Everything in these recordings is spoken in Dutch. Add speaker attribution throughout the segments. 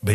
Speaker 1: Ben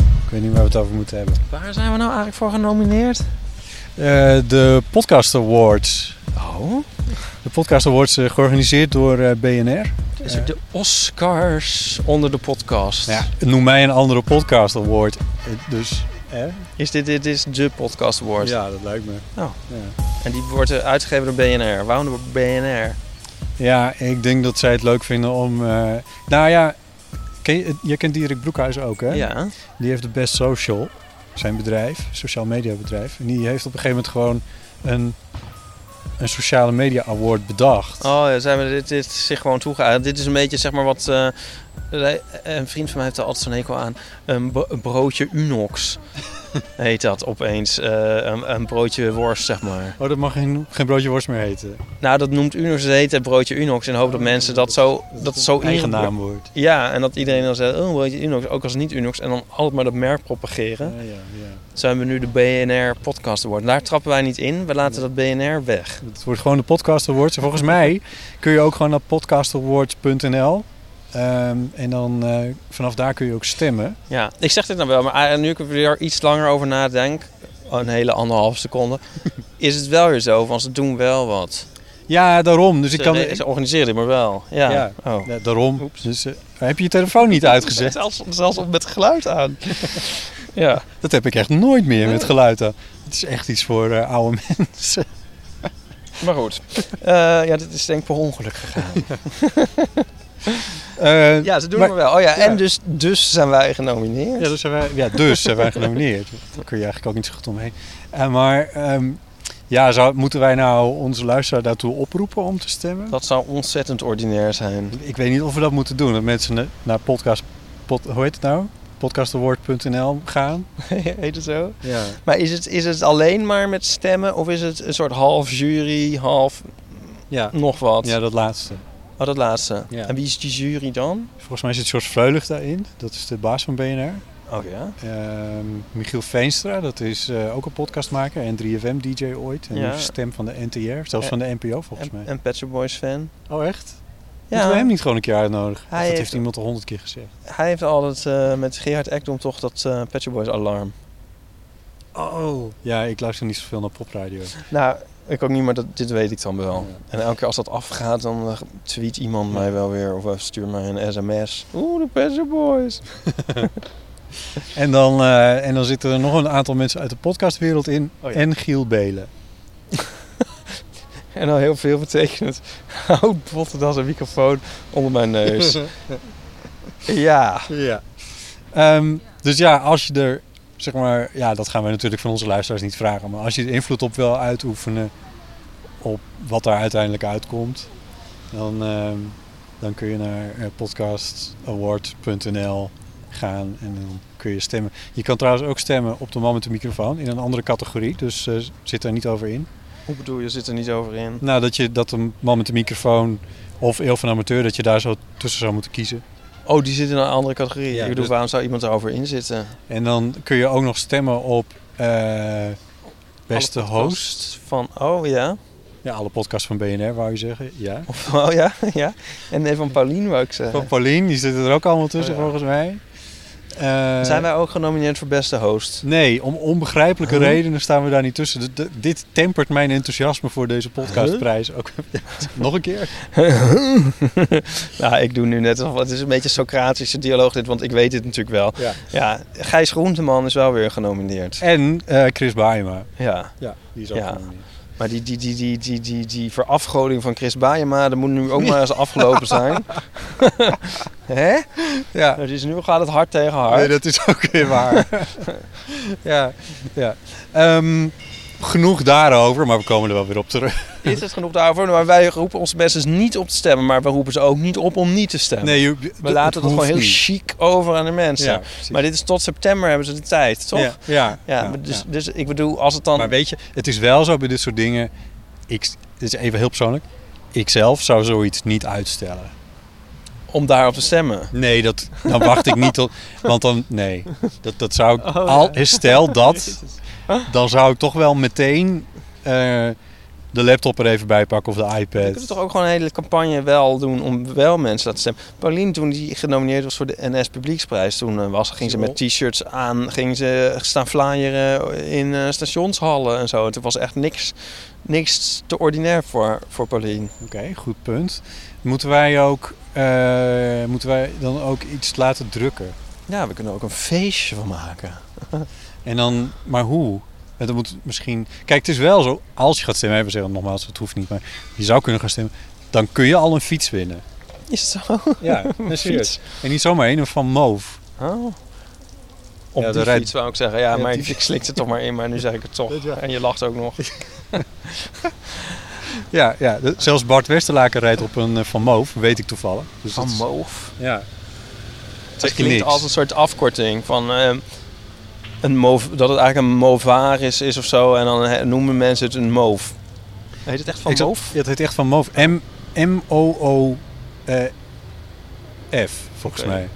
Speaker 2: Ik weet niet waar we het over moeten hebben.
Speaker 3: Waar zijn we nou eigenlijk voor genomineerd?
Speaker 2: Eh, de Podcast Awards.
Speaker 3: Oh,
Speaker 2: De Podcast Awards eh, georganiseerd door eh, BNR.
Speaker 3: het is ook de Oscars onder de podcast.
Speaker 2: Ja, noem mij een andere Podcast Award. Eh, dus, hè?
Speaker 3: Is dit, dit is de podcast award.
Speaker 2: Ja, dat lijkt me.
Speaker 3: En die wordt eh, uitgegeven door BNR. Waarom door BNR?
Speaker 2: Ja, ik denk dat zij het leuk vinden om... eh, nou ja, ken je, je kent Dierik Broekhuis ook, hè?
Speaker 3: Ja.
Speaker 2: Die heeft de Best Social, zijn bedrijf, social media bedrijf. En die heeft op een gegeven moment gewoon een, een sociale media award bedacht.
Speaker 3: Oh, ja, zijn we dit, dit is zich gewoon toegeëigend. Dit is een beetje zeg maar wat... eh, wij- een vriend van mij heeft er altijd zo'n hekel aan. Een, bo- een broodje Unox heet dat opeens. Eh, een, een broodje worst, zeg maar.
Speaker 2: Oh, dat mag geen, geen broodje worst meer heten.
Speaker 3: Nou, dat noemt Unox het heet het broodje Unox. In de hoop dat mensen dat zo... Dat
Speaker 2: het
Speaker 3: zo
Speaker 2: een eigen
Speaker 3: ingebra-
Speaker 2: naam wordt.
Speaker 3: Ja, en dat iedereen dan zegt, oh, weet je, Unox, ook als niet Unox. En dan altijd maar dat merk propageren.
Speaker 2: Ja, ja, ja.
Speaker 3: Zijn we nu de BNR podcast award. Daar trappen wij niet in, we laten dat BNR weg.
Speaker 2: Het wordt gewoon de Podcast Awards. En volgens mij kun je ook gewoon naar podcastawards.nl. Ehm, en dan eh, vanaf daar kun je ook stemmen.
Speaker 3: Ja, ik zeg dit nou wel, maar eigenlijk nu ik er weer iets langer over nadenk, oh, een hele anderhalf seconde, is het wel weer zo, van ze doen wel wat.
Speaker 2: Ja, daarom. Dus ik
Speaker 3: ze,
Speaker 2: kan...
Speaker 3: ze organiseren dit maar wel. Ja.
Speaker 2: Ja.
Speaker 3: Oh.
Speaker 2: Ja, daarom.
Speaker 3: Oeps.
Speaker 2: Dus, eh, heb je je telefoon niet uitgezet?
Speaker 3: Zelfs, zelfs met geluid aan. ja.
Speaker 2: Dat heb ik echt nooit meer met geluiden. Het is echt iets voor eh, oude mensen.
Speaker 3: Maar goed. Eh, ja, dit is denk ik per ongeluk gegaan.
Speaker 2: Eh,
Speaker 3: Ja, ze doen
Speaker 2: Maar-
Speaker 3: maar, wel. Oh
Speaker 2: Ja.
Speaker 3: ja, en dus, dus zijn wij genomineerd.
Speaker 2: Ja, dus zijn wij, ja, dus zijn wij genomineerd. Daar kun je eigenlijk ook niet zo goed omheen. Eh, maar ehm, ja, zou, moeten wij nou onze luisteraar daartoe oproepen om te stemmen?
Speaker 3: Dat zou ontzettend ordinair zijn.
Speaker 2: Ik weet niet of we dat moeten doen. Dat mensen na- naar podcast... pod- hoe heet het nou? Podcastaward.nl gaan.
Speaker 3: Heet het zo?
Speaker 2: Ja.
Speaker 3: Maar is het, is het alleen maar met stemmen of is het een soort half jury, half
Speaker 2: Ja.
Speaker 3: nog wat?
Speaker 2: ja, dat laatste.
Speaker 3: Oh, dat laatste.
Speaker 2: Ja.
Speaker 3: En wie is die jury dan?
Speaker 2: Volgens mij zit George Vreulig daarin. Dat is de baas van BNR.
Speaker 3: Oh ja.
Speaker 2: Ehm, Michiel Veenstra, dat is eh, ook een podcastmaker en 3FM-dj ooit. En
Speaker 3: Ja.
Speaker 2: stem van de NTR, zelfs van
Speaker 3: En-
Speaker 2: de NPO volgens
Speaker 3: En,
Speaker 2: mij.
Speaker 3: en Pet Shop Boys fan.
Speaker 2: Oh, echt? Moeten
Speaker 3: Ja,
Speaker 2: we hem niet gewoon een keer uitnodigen? Of
Speaker 3: Hij
Speaker 2: dat
Speaker 3: heeft-
Speaker 2: heeft iemand al honderd keer gezegd.
Speaker 3: hij heeft altijd eh, met Gerhard Ekdom toch dat eh Pet Shop Boys alarm.
Speaker 2: Oh. Ja, ik luister niet zoveel naar popradio.
Speaker 3: Nou, ik ook niet, maar dat, dit weet ik dan wel. En elke keer als dat afgaat, dan eh, tweet iemand mij wel weer of eh, stuurt mij een sms. Oeh, de Pet Shop Boys.
Speaker 2: En dan, eh, en dan zitten er nog een aantal mensen uit de podcastwereld in.
Speaker 3: Oh ja.
Speaker 2: En Giel Belen.
Speaker 3: En al heel veel betekent hout botten als een microfoon onder mijn neus. ja.
Speaker 2: Ja. dus ja, als je er, zeg maar, ja, dat gaan wij natuurlijk van onze luisteraars niet vragen. Maar als je er invloed op wil uitoefenen, op wat daar uiteindelijk uitkomt, dan, ehm, dan kun je naar eh, podcastaward.nl gaan en dan kun je stemmen. Je kan trouwens ook stemmen op de man met de microfoon in een andere categorie, dus eh, zit daar niet over in.
Speaker 3: Hoe bedoel je, zit er niet over in?
Speaker 2: Nou, dat, je, dat de man met de microfoon of Eel van Amateur, dat je daar zo tussen zou moeten kiezen.
Speaker 3: Oh, die zit in een andere categorie.
Speaker 2: Ja,
Speaker 3: ik bedoel,
Speaker 2: dus-
Speaker 3: waarom zou iemand erover in zitten?
Speaker 2: En dan kun je ook nog stemmen op eh, beste
Speaker 3: Alle
Speaker 2: host.
Speaker 3: podcasts Van, oh ja.
Speaker 2: Ja, alle podcasts van BNR wou je zeggen. Ja. Eh,
Speaker 3: Of, oh ja, ja. En nee, van Paulien wou ik zeggen.
Speaker 2: Van Paulien, die zitten er ook allemaal tussen
Speaker 3: Oh ja.
Speaker 2: volgens mij. Eh,
Speaker 3: Zijn wij ook genomineerd voor beste host?
Speaker 2: Nee, om onbegrijpelijke
Speaker 3: Huh?
Speaker 2: redenen staan we daar niet tussen. D- d- dit tempert mijn enthousiasme voor deze podcastprijs ook. Nog een keer.
Speaker 3: nou, ik doe nu net alsof het is een beetje Socratische dialoog dit, want ik weet dit natuurlijk wel.
Speaker 2: Ja.
Speaker 3: Ja, Gijs Groenteman is wel weer genomineerd.
Speaker 2: En eh, Chris Baaema.
Speaker 3: Ja,
Speaker 2: Ja, die is
Speaker 3: ook
Speaker 2: ook
Speaker 3: Ja. genomineerd. maar die, die, die, die, die, die, die verafgoding van Chris Baaienma, dat moet nu ook maar eens afgelopen zijn. Hè?
Speaker 2: Ja.
Speaker 3: Dus nu gaat het hard tegen hard.
Speaker 2: Nee, dat is ook weer waar. ja, ja. Ehm, genoeg daarover, maar we komen er wel weer op terug.
Speaker 3: Is het genoeg daarvoor? Maar wij roepen onze best dus niet op te stemmen, maar we roepen ze ook niet op om niet te stemmen.
Speaker 2: Nee, je-
Speaker 3: we laten het
Speaker 2: hoeft
Speaker 3: gewoon heel
Speaker 2: niet.
Speaker 3: chic over aan de mensen.
Speaker 2: Ja, precies.
Speaker 3: maar dit is tot september hebben ze de tijd, toch?
Speaker 2: Ja, ja,
Speaker 3: Ja,
Speaker 2: ja,
Speaker 3: dus,
Speaker 2: ja.
Speaker 3: dus ik bedoel, als het dan...
Speaker 2: Maar weet je, het is wel zo bij dit soort dingen. Ik, dit is even heel persoonlijk. Ik zelf zou zoiets niet uitstellen.
Speaker 3: om daarop te stemmen.
Speaker 2: Nee, dat, dan wacht ik niet tot. Want dan, nee. Dat, dat zou ik.
Speaker 3: Oh, ja.
Speaker 2: al, Stel dat, dan zou ik toch wel meteen eh, de laptop er even bij pakken of de
Speaker 3: Je
Speaker 2: iPad.
Speaker 3: kunt toch ook gewoon een hele campagne wel doen om wel mensen te laten stemmen. Paulien, toen die genomineerd was voor de NS Publieksprijs, toen eh, was, ging ze met t-shirts aan, ging ze staan flyeren in eh, stationshallen en zo. Het was echt niks, niks te ordinair voor, voor Paulien.
Speaker 2: Oké, goed punt. Moeten wij ook. eh, moeten wij dan ook iets laten drukken?
Speaker 3: Ja, we kunnen er ook een feestje van maken.
Speaker 2: En dan, maar hoe? En Dan moet misschien. Kijk, het is wel zo. Als je gaat stemmen, even zeggen nogmaals, het hoeft niet, maar je zou kunnen gaan stemmen. Dan kun je al een fiets winnen.
Speaker 3: Is het zo?
Speaker 2: Ja, een fiets. En niet zomaar één, een van Moof.
Speaker 3: Oh. Op
Speaker 2: Ja,
Speaker 3: de
Speaker 2: de rij-
Speaker 3: fiets wou ik zeggen. Ja,
Speaker 2: Ja,
Speaker 3: maar
Speaker 2: die-
Speaker 3: ik slikte het toch maar in, maar nu zeg ik het toch. En je lacht ook nog.
Speaker 2: Ja, ja. de- Zelfs Bart Westerlaken rijdt op een eh, van Moof, weet ik toevallig. Dus dat
Speaker 3: Van
Speaker 2: is-
Speaker 3: Moof.
Speaker 2: Ja.
Speaker 3: Het
Speaker 2: Zeg je
Speaker 3: klinkt
Speaker 2: niks.
Speaker 3: als een soort afkorting van ehm, een mov, dat het eigenlijk een movaris is of zo. En dan he- noemen mensen het een moof. Heet het echt van
Speaker 2: Ik zat-
Speaker 3: moof?
Speaker 2: Ja, het heet echt van Moof. M- M-O-O-F, volgens
Speaker 3: Oké.
Speaker 2: mij.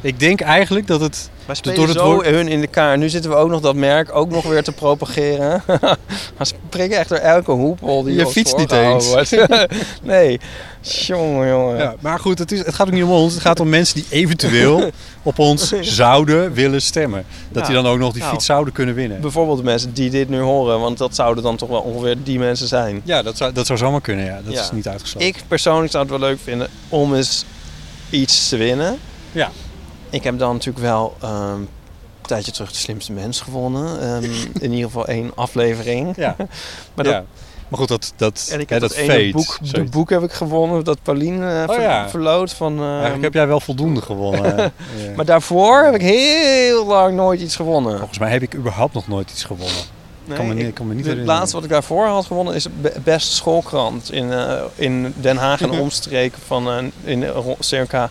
Speaker 2: Ik denk eigenlijk dat het...
Speaker 3: Wij spelen
Speaker 2: door het
Speaker 3: zo
Speaker 2: woord-
Speaker 3: hun in de kaart. Nu zitten we ook nog dat merk ook nog weer te propageren. Maar ze prikken echt door elke hoepel die
Speaker 2: Je
Speaker 3: ons
Speaker 2: fietst niet
Speaker 3: voorgehouden wordt. nee. Jongen, jongen.
Speaker 2: Ja, maar goed, het, is, het gaat ook niet om ons. Het gaat om mensen die eventueel op ons zouden willen stemmen. Dat die
Speaker 3: Nou,
Speaker 2: dan ook nog die
Speaker 3: nou.
Speaker 2: fiets zouden kunnen winnen.
Speaker 3: Bijvoorbeeld de mensen die dit nu horen. Want dat zouden dan toch wel ongeveer die mensen zijn.
Speaker 2: Ja, dat zou, dat zou zomaar kunnen, ja. Dat
Speaker 3: Ja.
Speaker 2: is niet uitgesloten.
Speaker 3: Ik persoonlijk zou het wel leuk vinden om eens iets te winnen.
Speaker 2: Ja.
Speaker 3: Ik heb dan natuurlijk wel ehm, een tijdje terug de slimste mens gewonnen. Ehm, in ieder geval één aflevering.
Speaker 2: Ja.
Speaker 3: Maar
Speaker 2: ja.
Speaker 3: dat,
Speaker 2: maar goed, dat, dat,
Speaker 3: en ik
Speaker 2: hè,
Speaker 3: heb
Speaker 2: dat
Speaker 3: dat ene
Speaker 2: fade.
Speaker 3: boek, de
Speaker 2: Zoiets.
Speaker 3: boek heb ik gewonnen dat Pauline eh,
Speaker 2: Oh
Speaker 3: ver-
Speaker 2: ja.
Speaker 3: verloot van. ehm,
Speaker 2: Eigenlijk heb jij wel voldoende gewonnen. Ja.
Speaker 3: Maar daarvoor heb ik heel lang nooit iets gewonnen.
Speaker 2: Volgens mij heb ik überhaupt nog nooit iets gewonnen. kan me
Speaker 3: Nee,
Speaker 2: niet-
Speaker 3: ik-
Speaker 2: kan me niet
Speaker 3: Het
Speaker 2: herinneren.
Speaker 3: laatste wat ik daarvoor had gewonnen is be- Best Schoolkrant in, eh, in Den Haag en omstreken van eh, in eh, ro- circa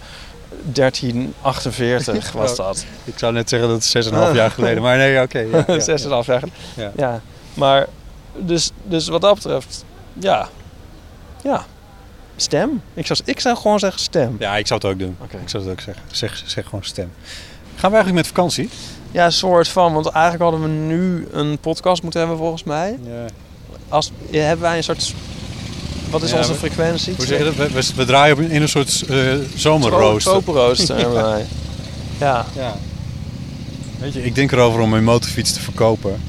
Speaker 3: 1348 was
Speaker 2: Ja.
Speaker 3: dat.
Speaker 2: Ik zou net zeggen dat het 6,5 jaar geleden. Maar nee, oké. ja, ja,
Speaker 3: Zes en een half jaar geleden.
Speaker 2: Ja.
Speaker 3: Ja. Maar dus, dus wat dat betreft, ja. Ja. Stem. Ik zou, ik zou gewoon zeggen stem.
Speaker 2: Ja, ik zou het ook doen.
Speaker 3: Oké.
Speaker 2: Ik zou het ook zeggen. Zeg, zeg gewoon stem. Gaan we eigenlijk met vakantie?
Speaker 3: Ja, soort van. Want eigenlijk hadden we nu een podcast moeten hebben volgens mij.
Speaker 2: Ja.
Speaker 3: Als, ja, hebben wij een soort... Wat is
Speaker 2: Ja,
Speaker 3: onze
Speaker 2: we-
Speaker 3: frequentie?
Speaker 2: Hoe zeg je dat? We, we- we draaien op een- in een soort eh zomerrooster.
Speaker 3: Tropenrooster hebben wij. Ja.
Speaker 2: Ja. Weet je, ik denk erover om mijn motorfiets te verkopen.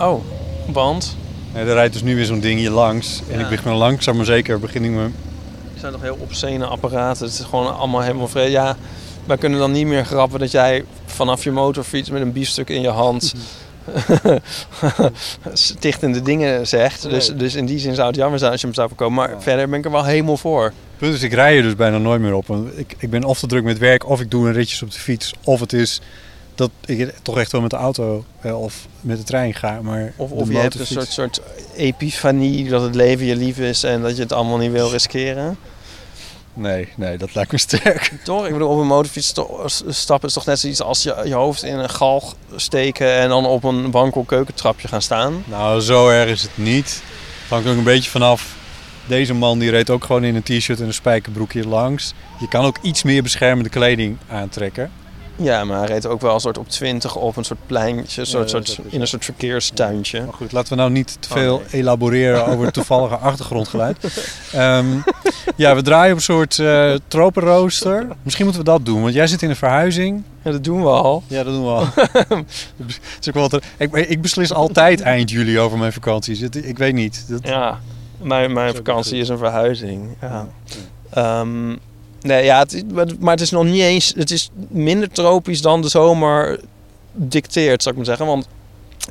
Speaker 3: Oh, want?
Speaker 2: Eh, er rijdt dus nu weer zo'n ding hier langs. En
Speaker 3: Ja.
Speaker 2: ik begin langzaam maar zeker begin ik me...
Speaker 3: Er zijn toch heel obscene apparaten. Het is gewoon allemaal helemaal vreemd. Ja, wij kunnen dan niet meer grappen dat jij vanaf je motorfiets met een biefstuk in je hand... Mhm. stichtende dingen zegt. Dus, dus in die zin zou het jammer zijn als je hem zou verkopen. Maar verder ben ik er wel helemaal voor.
Speaker 2: Punt is, ik rij er dus bijna nooit meer op. Want ik, ik ben of te druk met werk, of ik doe een ritjes op de fiets. Of het is dat ik toch echt wel met de auto eh, of met de trein ga. Maar
Speaker 3: Of,
Speaker 2: de
Speaker 3: of je hebt een
Speaker 2: motorfiets-
Speaker 3: soort, soort epifanie dat het leven je lief is... en dat je het allemaal niet wil riskeren.
Speaker 2: Nee, nee, dat lijkt me sterk.
Speaker 3: Toch? Ik bedoel, op een motorfiets to- s- stappen is toch net zoiets als je je hoofd in een galg steken en dan op een wankel keukentrapje gaan staan.
Speaker 2: Nou, zo erg is het niet. Het hangt ook een beetje vanaf. Deze man die reed ook gewoon in een t-shirt en een spijkerbroekje langs. Je kan ook iets meer beschermende kleding aantrekken.
Speaker 3: Ja, maar hij reed ook wel een soort op 20 op een soort pleintje, soort,
Speaker 2: dat
Speaker 3: soort,
Speaker 2: heb ik
Speaker 3: in een soort verkeerstuintje.
Speaker 2: Maar goed, laten we nou niet te
Speaker 3: Oh,
Speaker 2: veel
Speaker 3: nee.
Speaker 2: elaboreren over het toevallige achtergrondgeluid. Ehm, ja, we draaien op een soort eh, tropenrooster. Misschien moeten we dat doen, want jij zit in een verhuizing.
Speaker 3: Ja, dat doen we al.
Speaker 2: Ja, dat doen we al. Dus ik, wil het er- ik, ik beslis altijd eind juli over mijn vakanties. Het- Ik weet niet. Dat,
Speaker 3: Ja, mijn, mijn
Speaker 2: Zo
Speaker 3: vakantie
Speaker 2: goed.
Speaker 3: is een verhuizing. Ja. Ehm, nee, ja, het, is- maar het- maar het is nog niet eens... Het is minder tropisch dan de zomer dicteert, zou ik maar zeggen. Want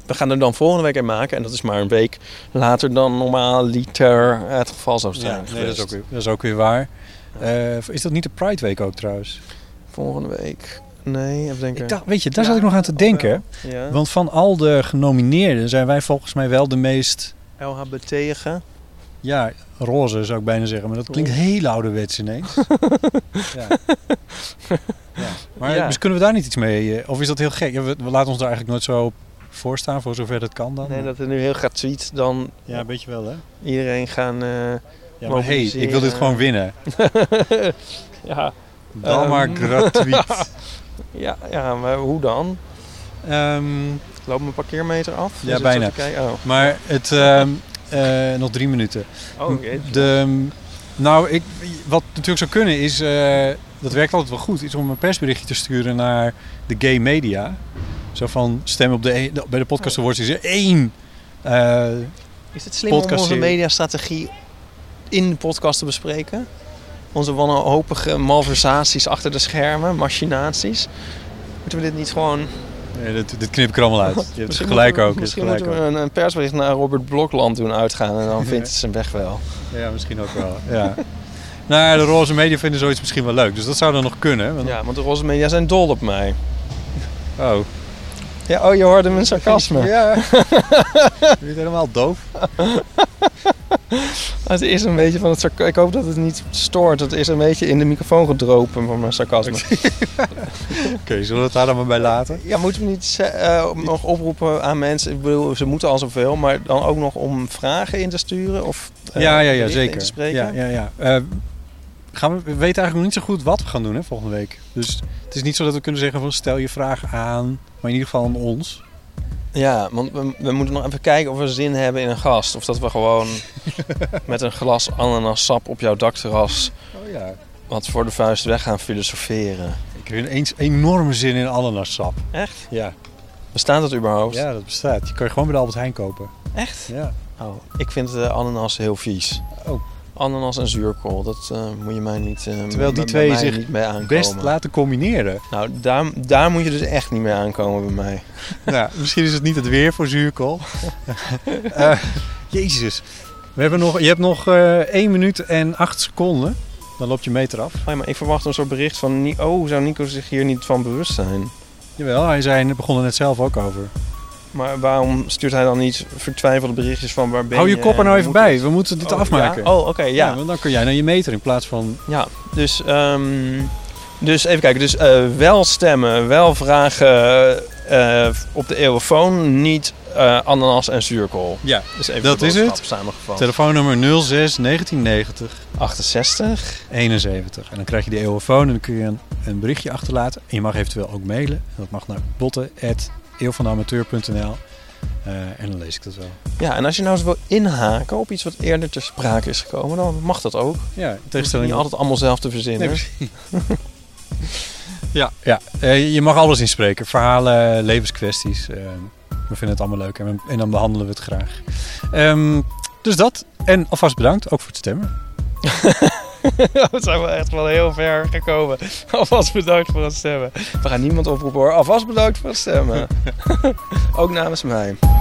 Speaker 3: we gaan er dan volgende week in maken. En dat is maar een week later dan normaal liter eh, het geval zou zijn.
Speaker 2: ja, nee, dat, is
Speaker 3: geweest.
Speaker 2: ook weer, dat is ook weer waar. Eh, is dat niet de Pride Week ook trouwens?
Speaker 3: Volgende week... Nee, even denken.
Speaker 2: Ik dacht, weet je, daar zat ik nog aan te denken.
Speaker 3: eh, ja.
Speaker 2: Want van al de genomineerden zijn wij volgens mij wel de meest...
Speaker 3: LHBT tegen.
Speaker 2: Ja, roze zou ik bijna zeggen. Maar dat klinkt heel ouderwets ineens. ja. Ja. Maar
Speaker 3: Ja.
Speaker 2: dus kunnen we daar niet iets mee? eh, Of is dat heel gek? Ja, we, we laten ons daar eigenlijk nooit zo op voorstaan, voor zover dat kan dan.
Speaker 3: Nee, dat is nu heel gratuit. Dan
Speaker 2: Ja, een beetje wel hè?
Speaker 3: iedereen gaan... eh,
Speaker 2: Ja, maar hey, ik wil dit
Speaker 3: Mobiliseren.
Speaker 2: gewoon winnen.
Speaker 3: ja,
Speaker 2: Dan
Speaker 3: Ehm.
Speaker 2: maar gratuit.
Speaker 3: ja, ja, maar hoe dan?
Speaker 2: Ehm,
Speaker 3: Loopt mijn parkeermeter af?
Speaker 2: Ja,
Speaker 3: Is het
Speaker 2: bijna.
Speaker 3: zo te kijken? Oh,
Speaker 2: maar het... ehm, eh, nog drie minuten.
Speaker 3: oh oké.
Speaker 2: De, nou, ik, wat natuurlijk zou kunnen is, eh, dat werkt altijd wel goed, is om een persberichtje te sturen naar de gay media. Zo van stem op de, e- de- bij de podcast awards is er één. eh,
Speaker 3: Is het slim om onze
Speaker 2: podcastserie.
Speaker 3: mediastrategie in de podcast te bespreken? Onze wanhopige malversaties achter de schermen, machinaties. Moeten we dit niet gewoon...
Speaker 2: nee, dit, dit knip ik er allemaal uit. Je hebt
Speaker 3: Misschien
Speaker 2: gelijk
Speaker 3: moeten we-
Speaker 2: ook. je hebt
Speaker 3: Misschien
Speaker 2: gelijk
Speaker 3: moeten we een, een persbericht naar Robert Blokland doen uitgaan... en dan vindt het zijn weg wel.
Speaker 2: ook. Ja, misschien ook wel. Ja. Nou, ja, de roze media vinden zoiets misschien wel leuk. Dus dat zou dan nog kunnen. want-
Speaker 3: Ja, want de roze media zijn dol op mij.
Speaker 2: Oh.
Speaker 3: Ja, oh, je hoorde mijn sarcasme.
Speaker 2: Ja. Ben je het helemaal doof?
Speaker 3: Het is een beetje van het sarca- Ik hoop dat het niet stoort. Het is een beetje in de microfoon gedropen van mijn sarcasme.
Speaker 2: Oké, zullen we het daar dan maar bij laten?
Speaker 3: Ja, moeten we niet ze- eh, nog oproepen aan mensen? Ik bedoel, ze moeten al zoveel, maar dan ook nog om vragen in te sturen? Of, eh,
Speaker 2: ja, ja, ja,
Speaker 3: berichten In
Speaker 2: zeker.
Speaker 3: te spreken?
Speaker 2: Ja, ja, ja. Eh, gaan we, we weten eigenlijk nog niet zo goed wat we gaan doen hè, volgende week. Dus het is niet zo dat we kunnen zeggen van stel je vraag aan, maar in ieder geval aan ons.
Speaker 3: Ja, want we, we moeten nog even kijken of we zin hebben in een gast. Of dat we gewoon met een glas ananassap op jouw dakterras
Speaker 2: Oh ja.
Speaker 3: wat voor de vuist weg gaan filosoferen.
Speaker 2: Ik heb ineens enorme zin in ananassap.
Speaker 3: Echt?
Speaker 2: Ja.
Speaker 3: Bestaat dat überhaupt?
Speaker 2: ja, dat bestaat. Je kan je gewoon bij de Albert Heijn kopen.
Speaker 3: Echt?
Speaker 2: Ja.
Speaker 3: Oh, ik vind eh, ananas heel vies.
Speaker 2: Oh.
Speaker 3: Ananas en zuurkool, dat eh, moet je mij niet. eh,
Speaker 2: Terwijl die
Speaker 3: bij
Speaker 2: twee
Speaker 3: mij
Speaker 2: zich
Speaker 3: niet mee aankomen.
Speaker 2: Best laten combineren.
Speaker 3: Nou, daar, daar moet je dus echt niet mee aankomen bij mij.
Speaker 2: nou, misschien is het niet het weer voor zuurkool. Eh, jezus. We hebben nog, je hebt nog eh 1 minuut en 8 seconden. Dan loopt je meter af.
Speaker 3: Oh, ja, maar ik verwacht een soort bericht van. Ni- Oh, zou Nico zich hier niet van bewust zijn?
Speaker 2: Jawel, hij zei, hij begon er net zelf ook over.
Speaker 3: Maar waarom stuurt hij dan niet vertwijfelde berichtjes van waar ben
Speaker 2: Hou je, kop er nou
Speaker 3: en
Speaker 2: even
Speaker 3: hoe moet
Speaker 2: bij.
Speaker 3: het?
Speaker 2: We moeten dit
Speaker 3: Oh,
Speaker 2: afmaken.
Speaker 3: ja? Oh, oké, ja.
Speaker 2: want dan kun jij naar je meter in plaats van...
Speaker 3: Ja, dus, ehm, dus even kijken. Dus eh, wel stemmen, wel vragen eh, op de eeuwenfoon, niet eh, ananas en zuurkool.
Speaker 2: Ja,
Speaker 3: dus even
Speaker 2: dat
Speaker 3: de
Speaker 2: is
Speaker 3: boodschap
Speaker 2: het.
Speaker 3: Samengevat.
Speaker 2: Telefoonnummer 06 1990
Speaker 3: 68.
Speaker 2: 71. En dan krijg je de eeuwfoon en dan kun je een, een berichtje achterlaten. En je mag eventueel ook mailen. En Dat mag naar botten.eeuwvanamateur.nl Eh, En dan lees ik dat wel.
Speaker 3: Ja, en als je nou eens wil inhaken op iets wat eerder ter sprake is gekomen, dan mag dat ook.
Speaker 2: Ja, in
Speaker 3: Het is niet
Speaker 2: tegenstelling...
Speaker 3: altijd allemaal zelf te
Speaker 2: Nee,
Speaker 3: verzinnen.
Speaker 2: precies. ja, ja. Eh, je mag alles inspreken. Verhalen, levenskwesties. Eh, we vinden het allemaal leuk en, we- en dan behandelen we het graag. Ehm, dus dat. En alvast bedankt, ook voor het stemmen.
Speaker 3: we zijn wel echt wel heel ver gekomen. Alvast bedankt voor het stemmen. We gaan niemand oproepen hoor. Alvast bedankt voor het stemmen. ook namens mij.